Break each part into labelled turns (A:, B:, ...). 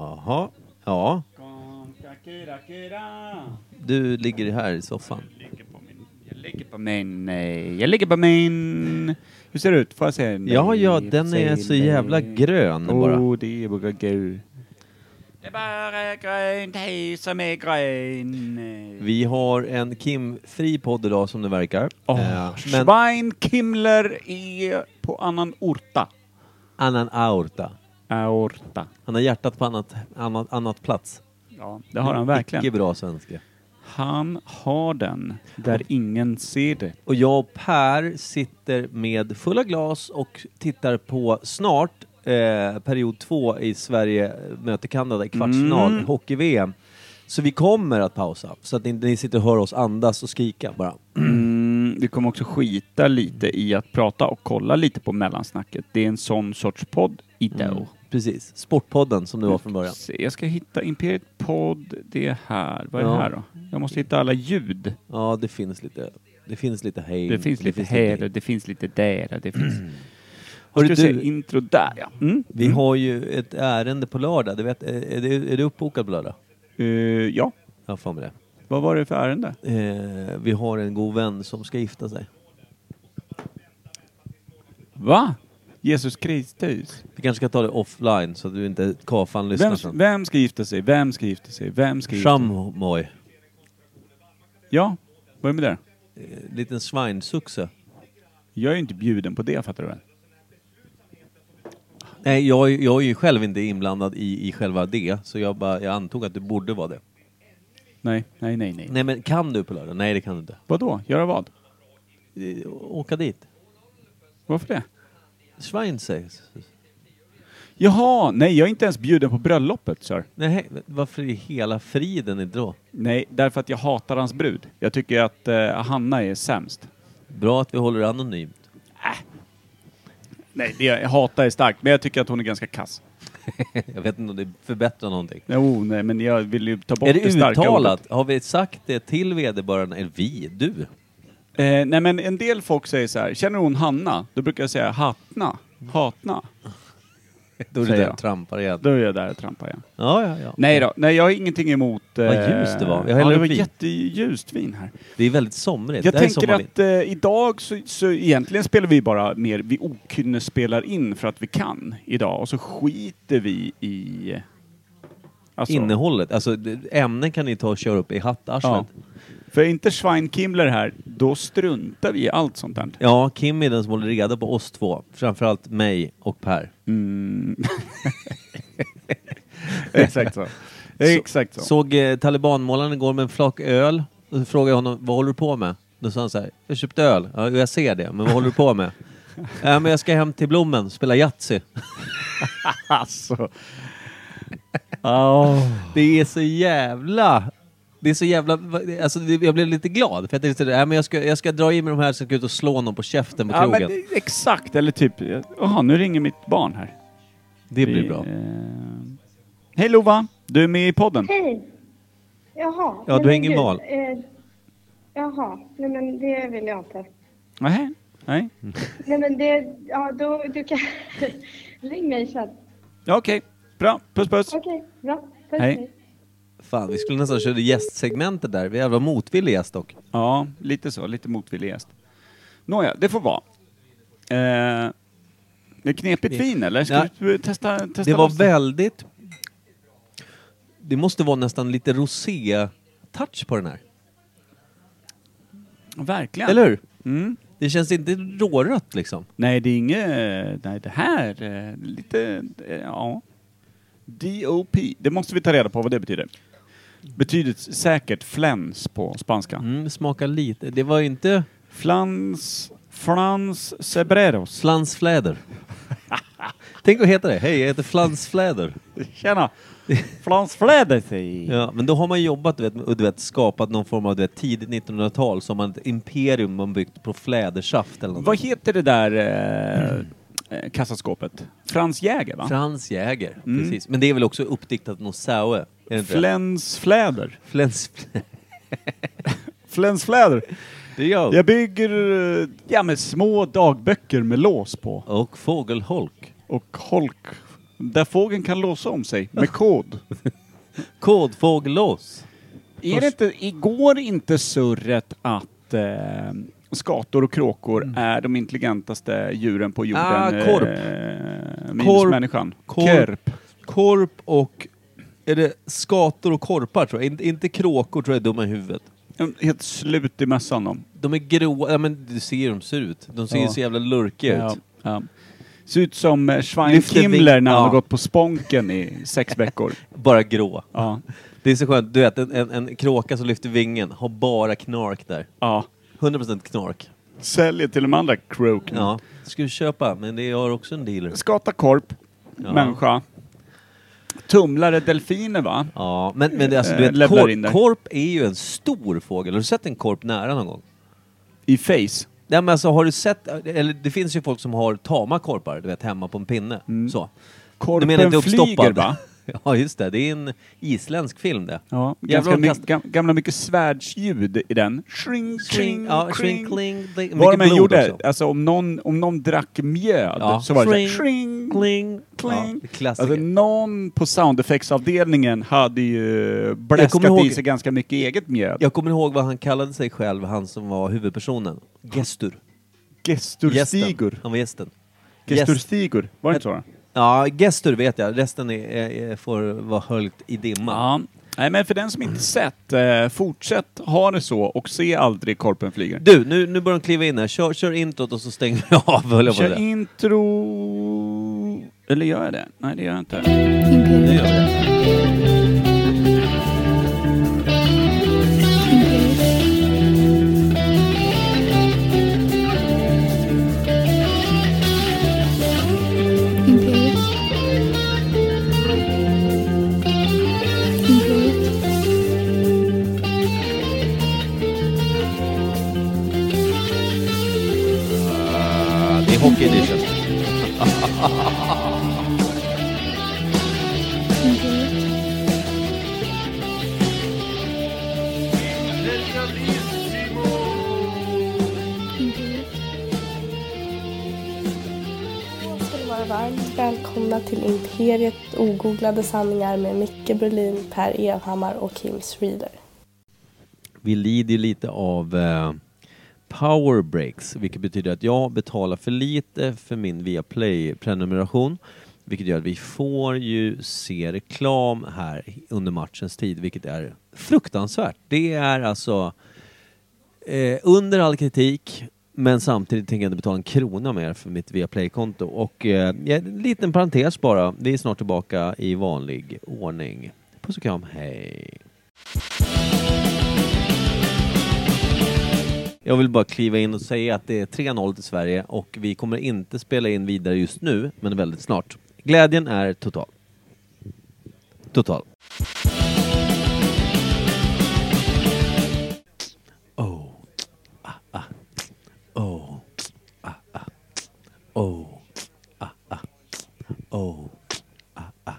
A: Jaha. Ja, du ligger här i soffan.
B: Jag ligger på min... eh, Jag ligger på min... Hur ser det ut? Får jag se? en bild?
A: Ja, ja, den
B: Se
A: är
B: en
A: så jävla
B: bild.
A: grön bara.
B: Oh, det är bara gul. Det är bara grönt hej som är grön.
A: Vi har en Kim-fri podd idag som det verkar. Eh, men
B: Schweinkimler är på annan orta.
A: annan aorta.
B: Aorta.
A: Han har hjärtat på annat, annat, annat plats.
B: Ja, det har han verkligen.
A: Icke bra svenska.
B: Han har den där ingen ser det.
A: Och jag och Per sitter med fulla glas och tittar på snart eh, period två i Sverige möter Kanada i kvartsfinal,
B: Mm.
A: hockey-VM. Så vi kommer att pausa, så att ni, ni sitter och hör oss andas och skrika bara.
B: Mm, vi kommer också skita lite i att prata och kolla lite på mellansnacket. Det är en sån sorts podd idag.
A: Precis, Sportpodden som det var från början.
B: Se, Jag ska hitta Imperiet podd, det är här. Vad är
A: Ja.
B: det här då? Jag måste hitta alla ljud.
A: Ja, det finns lite, det finns lite hej.
B: Mm, Det finns lite här och det finns lite där. och Det finns...
A: Hörru
B: Hörru, du...
A: du-
B: Säga, intro där ja. Mm.
A: Vi har ju ett ärende på lördag, du vet, är, är, du, är du uppbokad på lördag?
B: Eh, ja,
A: Jag har för mig det.
B: vad var det för ärende?
A: Eh, vi har en god vän som ska gifta sig.
B: Va? Jesus Kristus?
A: Vi kanske ska ta det offline så att du inte kafan lyssnar
B: Vem,
A: sen.
B: vem ska gifta sig? Vem ska gifta sig? Vem ska gifta sig?
A: Shammoy.
B: Ja, vad är det med det?
A: Eh, Liten svinesuxe.
B: Jag är ju inte bjuden på det fattar du väl?
A: Nej, jag, är- jag är ju själv inte inblandad i, i själva det, så jag, bara, jag antog att du borde vara det.
B: Nej, nej, nej, nej.
A: Nej, men kan du på lördag? Nej, det kan du inte.
B: Vadå? Göra vad?
A: Eh, Åka dit.
B: Varför det?
A: Schweinsey.
B: Jaha, nej jag är inte ens bjuden på bröllopet sir.
A: Nej, varför i hela friden inte då?
B: Nej, därför att jag hatar hans brud. Jag tycker att eh, Hanna är sämst.
A: Bra att vi håller det anonymt.
B: Nej, det jag hatar är starkt, men jag tycker att hon är ganska kass.
A: Jag vet inte om det förbättrar någonting.
B: Jo, nej, men jag vill ju ta bort
A: är
B: det,
A: det
B: starka
A: uttalat?
B: ordet.
A: Har vi sagt det till vederbörande? Eller vi? Du?
B: Eh, nej, men en del folk säger så här, känner hon Hanna? Då brukar jag säga hatna, hatna.
A: Då är det
B: Säger
A: där
B: jag.
A: och trampar igen.
B: Då är jag där och trampar igen.
A: Ja, ja, ja.
B: Nej då, nej jag har ingenting emot... Eh,
A: Vad ljust det var. Jag
B: ja,
A: häller
B: det
A: upp
B: var
A: vin.
B: jätteljust vin här.
A: Det är väldigt somrigt.
B: Jag
A: det här är
B: tänker
A: sommarvin.
B: att eh, idag så, så egentligen spelar vi bara mer, vi okynne spelar in för att vi kan idag och så skiter vi i... eh, Alltså,
A: Innehållet, alltså det- ämnen kan ni ta och köra upp i hattarslet.
B: Ja.
A: Ja.
B: För är inte Schweinkimler här, då struntar vi i allt sånt där.
A: Kim är den som håller reda på oss två. Framförallt mig och Per.
B: Exakt så. Exakt så.
A: Såg eh, talibanmålaren igår med en flak öl. Och så frågade jag honom, vad håller du på med? Då sa han så här, jag köpte öl. Ja, jag ser det, men vad håller du på med? Ja, men jag ska hem till Blommen och spela Yatzy.
B: Alltså.
A: Ah,
B: Oh.
A: Det är så jävla... Det är så jävla... Alltså, det- jag blev lite glad. För jag tänkte, ja, men jag, ska, jag ska dra i mig de här och ska ut och slå någon på käften på
B: Ja,
A: krogen.
B: men,
A: det,
B: det- exakt, eller typ, jaha nu ringer mitt barn här.
A: blir
B: Vi,
A: bra.
B: eh, Hej Lova, du är med i podden.
C: Hej! Jaha.
A: Ja, du
C: men
A: är ingen
C: gud,
A: val.
C: Eh, jaha, nej men det vill jag inte.
B: Nej, nej.
C: Nej men det, ja då, du kan... Ring mig sen.
B: Ja, Okej, bra. Puss puss.
C: Okej, bra. Puss,
B: Hej.
A: Fan, vi skulle nästan köra gästsegmentet där. Vi är jävla motvillig gäst dock.
B: Ja, lite så. Lite motvillig gäst. Nåja, det får vara. Eh, det är knepigt vin eller? Ska
A: Ja.
B: du testa? testa
A: Det var
B: någonstans?
A: väldigt... Det måste vara nästan lite rosé-touch på den här.
B: Verkligen.
A: Eller hur?
B: Mm.
A: Det känns inte rårött liksom.
B: Nej, det är inget... Nej, det här... eh, Lite... eh, Ja. DOP. Det måste vi ta reda på vad det betyder. Betyder säkert fläns på spanska.
A: Mm, smakar lite. Det var ju inte
B: Flans... Flans sebreros.
A: flansfläder. Tänk att heta det. Hej, jag heter flansfläder.
B: Tjena! Flansflädet i...
A: Ja, men då har man jobbat du vet, och du vet, skapat någon form av du vet, tidigt 1900-tal som ett imperium man byggt på flädersaft eller något.
B: Vad heter det där eh, eh, kassaskåpet? Frans Jäger va?
A: Frans Jäger, precis. Men det är väl också uppdiktat något Saue? Är det inte det?
B: Flens fläder.
A: Flens...
B: Flens fläder.
A: Det gör
B: Jag bygger eh, ja, men små dagböcker med lås på
A: Och fågelholk.
B: och holk Där fågeln kan låsa om sig med kod.
A: Kodfågel loss.
B: Är det inte, igår inte surret att eh, skator och kråkor är de intelligentaste djuren på jorden?
A: Mm. Ah, korp.
B: Eh, minus
A: Korp.
B: människan.
A: Korp. Korp och... Är det skator och korpar tror jag? In, inte kråkor tror jag är dumma i huvudet.
B: En Helt slut i mössan de.
A: De är gråa, ja men du ser hur de ser ut. De ser ju
B: Ja.
A: så jävla lurkiga
B: Ja,
A: ut.
B: ja. Ser ut som eh,
A: Lyfter ving-
B: Schweinkimler när han
A: Ja.
B: har gått på sponken i sex veckor.
A: Bara grå.
B: Ja.
A: Det är så skönt, du vet en, en, en kråka som lyfter vingen har bara knark där.
B: ja.
A: 100% knark.
B: Säljer till de andra kråkorna.
A: Ja, ska du köpa, men det har också en dealer.
B: Skata korp,
A: Ja.
B: människa. Tumlare delfiner va?
A: Ja, men, men det, alltså, du
B: Eh,
A: vet,
B: lämnar in
A: korp,
B: där.
A: korp är ju en stor fågel. Har du sett en korp nära någon gång?
B: I face.
A: Nej men alltså har du sett, eller det finns ju folk som har tama korpar, du vet hemma på en pinne. Så.
B: Mm. Korpen
A: du menar inte
B: flyger
A: uppstoppad?
B: va?
A: ja just det, det är en isländsk film det.
B: Ja,
A: Jävlar
B: ganska
A: vad
B: my
A: kast-
B: gam gamla mycket svärdsljud i den. Shring,
A: Kring,
B: shring,
A: ja,
B: kring.
A: kring, kling, kling.
B: Vad
A: Mycket
B: de än
A: blod
B: gjorde,
A: också.
B: alltså om någon, om någon drack mjöd
A: Ja.
B: så var det
A: Shring,
B: så här, shring,
A: Kling,
B: kling.
A: Ja, klassiker.
B: Alltså någon på soundeffektsavdelningen hade ju bläskat
A: kommer ihåg-
B: i sig ganska mycket eget mjöd.
A: Jag kommer ihåg vad han kallade sig själv, han som var huvudpersonen. Gestur. Gästen.
B: Gesturstigor.
A: Han var gästen. Gäst-
B: Gesturstigor, var det inte så?
A: Ja, gestur vet jag. Resten är, är, är- får vara höljt i dimma.
B: Ja. Nej men för den som inte sett, eh, fortsätt ha det så och se aldrig Korpen flyger.
A: Du, nu, nu börjar de kliva in här. Kör, kör introt och så stänger vi av, höll jag på
B: Kör
A: det.
B: intro... Eller gör jag det? Nej det gör jag inte.
A: Nu gör
D: Imperial.
A: vi det.
D: Imperial. Imperial. Imperial.
A: Ja, det är hockey edition.
D: Imperial. Imperial.
E: Då ska ni vara varmt välkomna till Imperiet ogooglade sanningar med Micke Berlin, Per Evhammar och Kim Reader.
A: Vi lider ju lite av eh, power breaks, vilket betyder att jag betalar för lite för min Viaplay-prenumeration. Vilket gör att vi får ju se reklam här under matchens tid, vilket är fruktansvärt. Det är alltså eh, under all kritik, men samtidigt tänker jag inte betala en krona mer för mitt Viaplay-konto. Och eh, ja, en liten parentes bara, vi är snart tillbaka i vanlig ordning. Puss och kram, hej! Jag vill bara kliva in och säga att det är 3-0 till Sverige och vi kommer inte spela in vidare just nu, men väldigt snart. Glädjen är total. Total. Oh. Ah, ah. Oh. Ah, ah. Oh. Ah, ah. Oh. Ah, ah.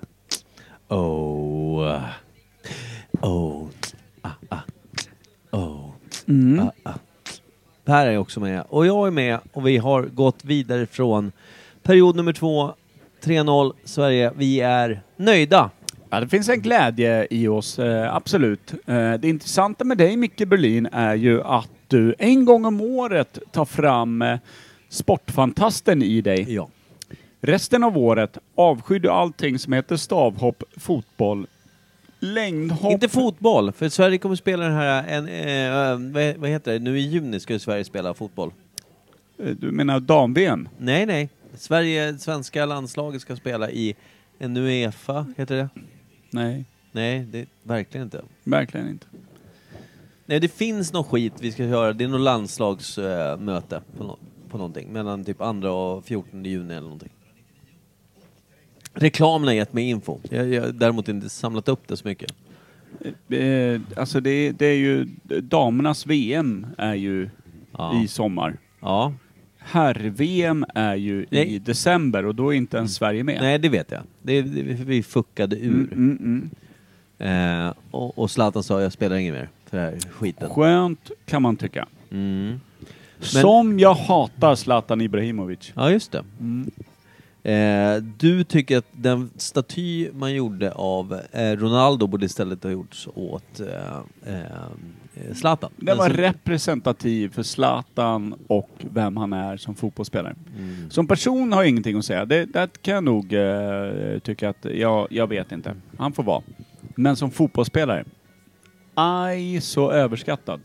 A: Oh. Ah. Oh. Ah, ah. Oh.
B: Mm.
A: Per är också med och jag är med och vi har gått vidare från period nummer två, 3-0 Sverige. Vi är nöjda.
B: Ja, det finns en glädje i oss, eh, absolut. Eh, det intressanta med dig, Micke Berlin, är ju att du en gång om året tar fram eh, sportfantasten i dig.
A: Ja.
B: Resten av året avskyr du allting som heter stavhopp, fotboll, längdhopp.
A: Inte fotboll, för Sverige kommer spela den här, en, eh, eh, vad- vad heter det, nu i juni ska ju Sverige spela fotboll.
B: Eh, du menar dam-VM?
A: Nej, nej. Sverige, svenska landslaget ska spela i en Uefa, heter det?
B: Nej,
A: Nej, det verkligen inte.
B: verkligen inte.
A: Nej, det finns någon skit vi ska göra. Det är något landslagsmöte eh, på, nå- på någonting. Mellan typ 2 och 14 juni eller någonting. Reklamen har gett mig info. Jag jag har däremot inte samlat upp det så mycket.
B: Eh, alltså det, det är ju, damernas VM är ju
A: Ja.
B: i sommar.
A: Ja.
B: Herr-VM är ju i
A: Nej. Mm.
B: december och då är inte ens Sverige med.
A: Nej, det vet jag. Det, det, vi fuckade ur.
B: Mm, mm.
A: Eh, och, och Zlatan sa jag spelar inget mer för den här skiten.
B: Skönt kan man tycka.
A: Mm.
B: Som jag hatar Zlatan Ibrahimovic. Mm.
A: Ja, just det. Eh, du tycker att den staty man gjorde av eh, Ronaldo borde istället ha gjorts åt eh, eh, Zlatan.
B: Den var
A: Alltså-
B: representativ för Zlatan och vem han är som fotbollsspelare.
A: Mm.
B: Som person har jag ingenting att säga. Det, där kan jag nog eh, tycka att, jag, jag vet inte. Han får vara. Men som fotbollsspelare, aj så överskattad.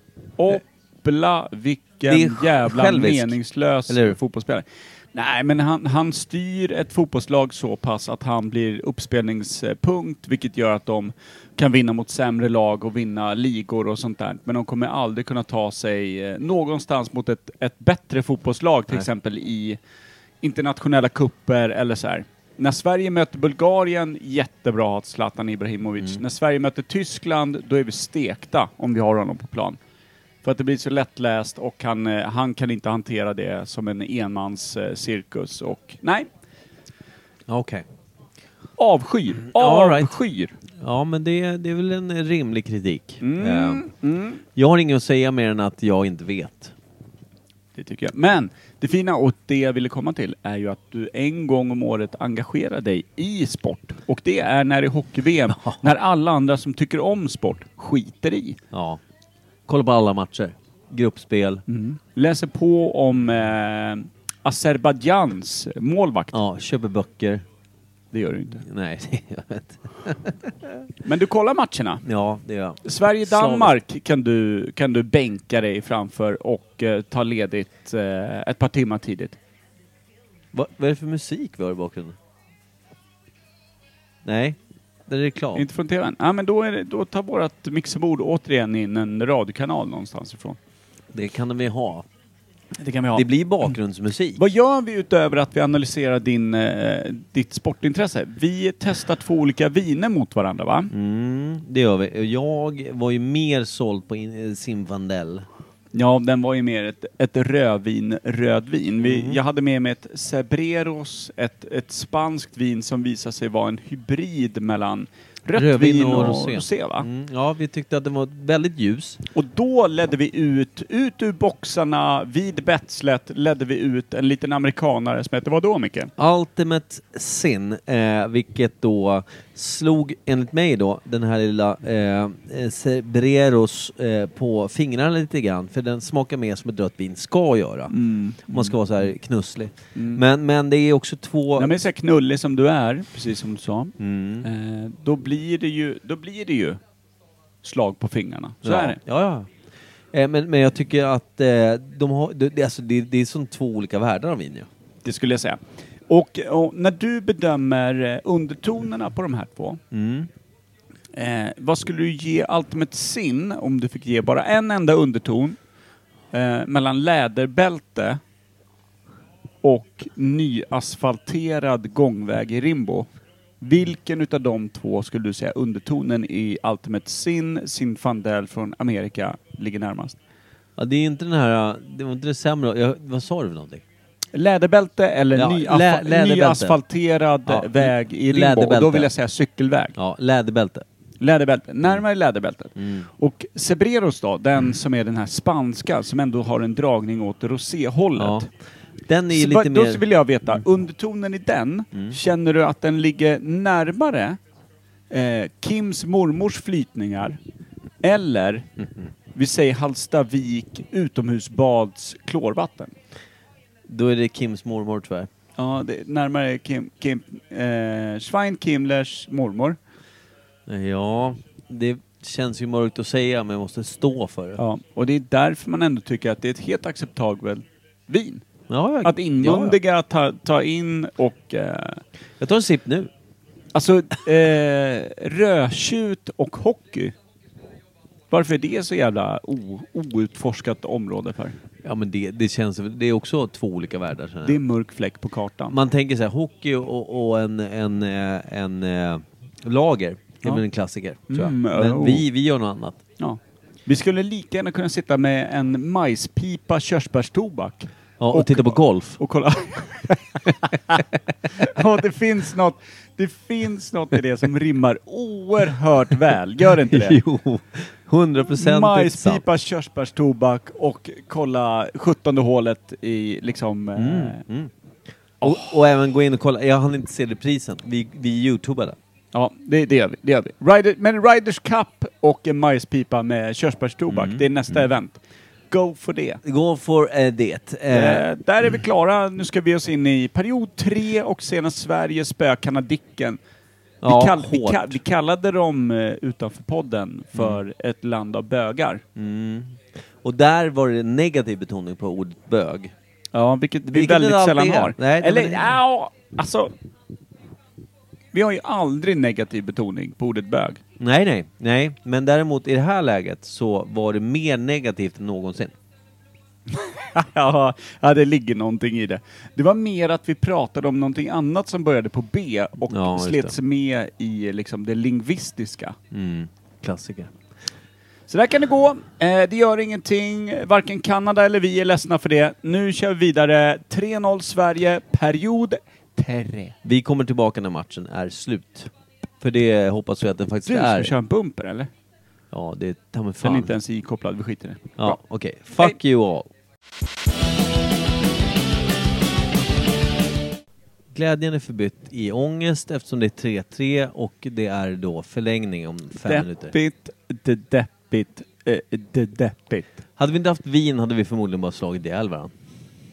B: Oppla
A: Det
B: vilken
A: är
B: jävla
A: självisk.
B: meningslös
A: Eller hur?
B: fotbollsspelare. Nej, men han, han styr ett fotbollslag så pass att han blir uppspelningspunkt, vilket gör att de kan vinna mot sämre lag och vinna ligor och sånt där. Men de kommer aldrig kunna ta sig eh, någonstans mot ett, ett bättre fotbollslag, till
A: Nej.
B: exempel i internationella kupper eller så här. När Sverige möter Bulgarien, jättebra att Zlatan Ibrahimovic.
A: Mm.
B: När Sverige möter Tyskland, då är vi stekta om vi har honom på plan. För att det blir så lättläst och han, eh, han kan inte hantera det som en enmanscirkus. Och nej,
A: Okej.
B: avskyr.
A: Mm, All right.
B: Avskyr.
A: Ja, men det, det är väl en rimlig kritik. Eh,
B: Mm, mm.
A: jag har inget att säga mer än att jag inte vet.
B: Det tycker jag. Men det fina och det jag ville komma till är ju att du en gång om året engagerar dig i sport. Och det är när det är hockey-VM, när alla andra som tycker om sport skiter i.
A: Ja. Kolla på alla matcher. Gruppspel.
B: Läser på om eh, Azerbajdzjans målvakt.
A: Ja, köper böcker.
B: Det gör du inte.
A: Nej, det gör jag inte.
B: Men du kollar matcherna.
A: Ja, det gör jag.
B: Sverige-Danmark kan du, kan du bänka dig framför och eh, ta ledigt eh, ett par timmar tidigt.
A: Va, vad är det för musik vi har i bakgrunden? Nej, det är reklam.
B: Inte från TVn? Ja, men då, är det, då tar vårt mixerbord återigen in en radiokanal någonstans ifrån.
A: Det kan vi ha.
B: Det kan vi ha.
A: Det blir bakgrundsmusik.
B: Vad gör vi utöver att vi analyserar din, eh, ditt sportintresse? Vi testar två olika viner mot varandra va?
A: Mm, det gör vi. Jag var ju mer såld på in, eh, Zinfandel.
B: Ja, den var ju mer ett, ett rödvin, rödvin. Vi,
A: Mm.
B: Jag hade med mig ett Cebreros, ett, ett spanskt vin som visade sig vara en hybrid mellan rött vin och, rosé. va?
A: Mm, ja, vi tyckte att den var väldigt ljus.
B: Och då ledde vi ut, ut ur boxarna, vid betslet, ledde vi ut en liten amerikanare som hette vadå Micke?
A: Ultimate Sin, eh, vilket då slog, enligt mig då, den här lilla eh, eh, Cebreros eh, på fingrarna lite grann. För den smakar mer som ett rött vin ska göra. Om man ska vara så här knusslig. Men, Mm. men det är också två...
B: När man är så här knullig som du är, precis som du sa,
A: Mm.
B: eh, då, blir det ju, då blir det ju slag på fingrarna. Så
A: ja.
B: är det.
A: Ja, ja. Eh, men, men jag tycker att eh, de har, det, det- alltså, det, det är som två olika världar av vin ju.
B: Det skulle jag säga. Och, och när du bedömer eh, undertonerna på de här två, eh, vad skulle du ge Ultimate Sin om du fick ge bara en enda underton eh, mellan läderbälte och nyasfalterad gångväg i Rimbo? Vilken utav de två skulle du säga undertonen i Ultimate Sin, Sinfandel från Amerika, ligger närmast?
A: Ja, det är inte den här, eh, det var inte det sämre, jag, vad sa du för någonting?
B: Läderbälte eller
A: Ja,
B: ny,
A: lä- läderbälte.
B: asfalterad eh,
A: Ja,
B: väg i Rimbo.
A: läderbälte.
B: Och då vill jag säga cykelväg.
A: Ja, Mm. läderbälte.
B: Läderbälte. Närmare läderbältet. Och Cebreros då, den
A: Mm.
B: som är den här spanska som ändå har en dragning åt
A: Ja.
B: roséhållet.
A: Den är ju
B: Så va-
A: lite
B: då
A: mer... Mm.
B: vill jag veta, undertonen i den, känner du att den ligger närmare eh, Kims mormors flytningar eller
A: Mm-hmm.
B: vi säger Hallstavik utomhusbads klorvatten?
A: Då är det Kims mormor tyvärr.
B: Ja, det är närmare Kim, Kim, eh, Schwein Kimlers mormor. Eh,
A: Ja, det känns ju mörkt att säga men jag måste stå för det. Ja,
B: Ja, och det är därför man ändå tycker att det är ett helt acceptabelt vin.
A: jag,
B: Att
A: Ja,
B: inmundiga, ta, ta in och... Eh,
A: ja. Jag tar en sipp nu.
B: alltså, eh, rödtjut och hockey. Varför är det så jävla o, outforskat område för?
A: Ja men det, det känns, det är också två olika världar. känner jag.
B: Det är en mörk fläck på kartan.
A: Man tänker så här, hockey och, och en, en, eh, en, eh, lager. Det är
B: Ja.
A: väl en klassiker, tror jag.
B: Mm,
A: Men
B: oh.
A: vi, vi gör något annat.
B: Ja. Vi skulle lika gärna kunna sitta med en majspipa körsbärstobak.
A: Ja, och,
B: Och-
A: titta på golf.
B: och kolla. ja, det finns något. Det finns något i det som rimmar oerhört väl. Gör inte det?
A: jo, hundraprocentigt sant.
B: Majspipa, körsbärstobak och kolla 17 hålet i liksom... eh,
A: Mm. Och, och även gå in och kolla, jag hann inte se reprisen, vi, vi youtubade.
B: Ja, det, det gör vi. Det gör vi. Rider, men Riders Cup och en majspipa med körsbärstobak,
A: Mm,
B: det är nästa event. Go for det.
A: Gå för eh, det. Eh,
B: Eh, där är vi klara. Nu ska vi oss in i period tre och senast Sverige spöa kanadicken. Vi,
A: Ja,
B: kall, vi,
A: hårt. Mm.
B: ka- vi kallade dem eh, utanför podden för ett land av bögar.
A: Och där var det negativ betoning på ordet bög.
B: Ja, vilket vi
A: Vilket det
B: väldigt
A: alltid
B: sällan
A: är.
B: har.
A: Nej, det-
B: Eller
A: men det-
B: ja, alltså. Vi har ju aldrig negativ betoning på ordet bög.
A: Nej, nej, nej. Men däremot i det här läget så var det mer negativt än någonsin.
B: ja, ja, det ligger någonting i det. Det var mer att vi pratade om någonting annat som började på B och
A: Ja, just
B: slets med i liksom det lingvistiska.
A: Mm. Klassiker.
B: Så där kan det gå. Eh, det gör ingenting. Varken Kanada eller vi är ledsna för det. Nu kör vi vidare. 3-0 Sverige, period 3.
A: Vi kommer tillbaka när matchen är slut. För det hoppas vi att den faktiskt
B: Du ska
A: är.
B: köra en bumper eller?
A: Ja, det är ta mig
B: Den
A: fan.
B: är inte ens ikopplad, vi skiter i det.
A: Ja, okej. Fuck you all. Glädjen är förbytt i ångest eftersom det är 3-3 och det är då förlängning om fem minuter.
B: Deppigt, det deppigt, eh, det deppigt.
A: Hade vi inte haft vin hade vi förmodligen bara slagit ihjäl varandra.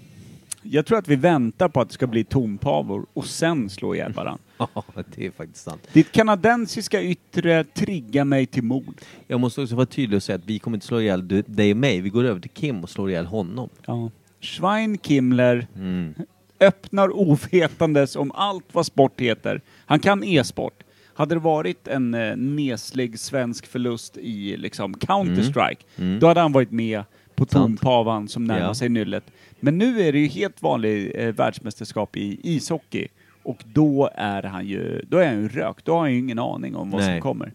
B: Jag tror att vi väntar på att det ska bli tompavor och sen slå ihjäl varandra.
A: Ja, det är faktiskt sant.
B: Ditt kanadensiska yttre triggar mig till mord.
A: Jag måste också vara tydlig och säga att vi kommer inte slå ihjäl du- dig och mig. Vi går över till Kim och slår ihjäl honom.
B: Ja. Schwein Kimmler
A: Mm.
B: öppnar ovetandes om allt vad sport heter. Han kan e-sport. Hade det varit en eh, neslig svensk förlust i liksom Counter-Strike, då hade han varit med på
A: Sant.
B: tompavan som närmar
A: Mm. Ja.
B: sig nyllet. Men nu är det ju helt vanlig eh, världsmästerskap i ishockey och då är han ju, då är han ju rökt. Då har han ju ingen aning om vad
A: Nej.
B: som kommer.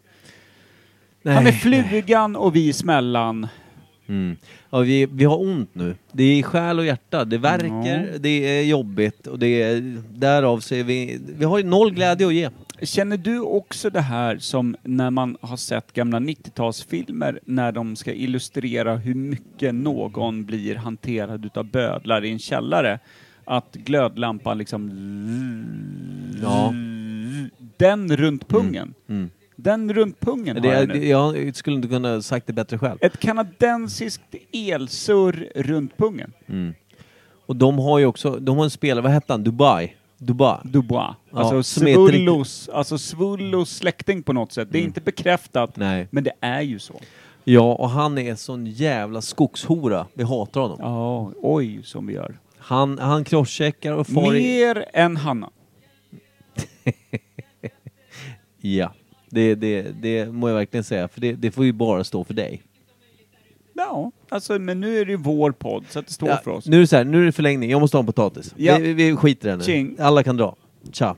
B: Han är flugan och vi smällan.
A: Mm. Ja, vi, vi har ont nu. Det är i själ och hjärta. Det värker,
B: Ja.
A: det är jobbigt och det är därav så är vi... Vi har ju noll glädje att ge.
B: Känner du också det här som när man har sett gamla 90-talsfilmer när de ska illustrera hur mycket någon blir hanterad utav bödlar i en källare? Att glödlampan liksom...
A: Ja.
B: Den runt pungen.
A: Mm.
B: Den runt pungen har
A: Det,
B: jag
A: det,
B: nu.
A: jag skulle inte kunna sagt det bättre själv.
B: Ett kanadensiskt elsurr runt pungen.
A: Och de har ju också... De har en spelare, vad hette han? Dubai? Dubai?
B: Dubois.
A: Ja,
B: alltså,
A: som är ett riktigt- Mm.
B: Svullos, alltså Svullos släkting på något sätt. Det är inte bekräftat,
A: Nej.
B: men det är ju så.
A: Ja, och han är sån jävla skogshora. Vi hatar honom.
B: Ja, oj som vi gör.
A: Han, han crosscheckar och far i...
B: Mer än Hanna.
A: Ja, det, det, det må jag verkligen säga, för det, det får ju bara stå för dig.
B: Ja, alltså men nu är det ju vår podd så att det står
A: Ja,
B: för oss.
A: Nu är det så här, nu är det förlängning, jag måste ha en potatis.
B: Ja.
A: Vi, vi skiter i det nu.
B: Tjing.
A: Alla kan dra. Tja.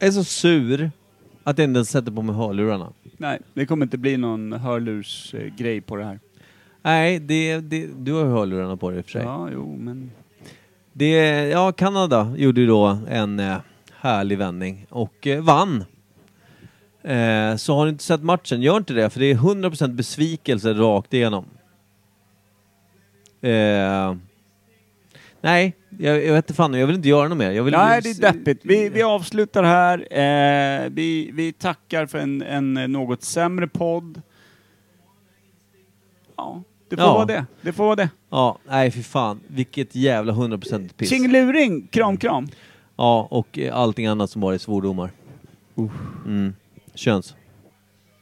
A: Jag är så sur att jag inte ens sätter på mig hörlurarna.
B: Nej, det kommer inte bli någon hörlursgrej på det här.
A: Nej, det, det, du har ju hörlurarna på dig i och för sig.
B: Ja, jo men...
A: Det, ja, Kanada gjorde ju då en eh, härlig vändning och eh, vann. Eh, så har ni inte sett matchen, gör inte det för det är 100% besvikelse rakt igenom. Eh, nej, jag, jag vet inte fan, jag vill inte göra något mer. Jag vill,
B: Nej, det är deppigt. Vi, vi avslutar här. Eh, vi, vi tackar för en, en något sämre podd. Ja, det får
A: Ja.
B: vara det. Det får vara det.
A: Ja, nej för fan. Vilket jävla 100% piss.
B: Tjingeluring! Kram, kram!
A: Ja, och eh, allting annat som bara är svordomar. Mm. Köns.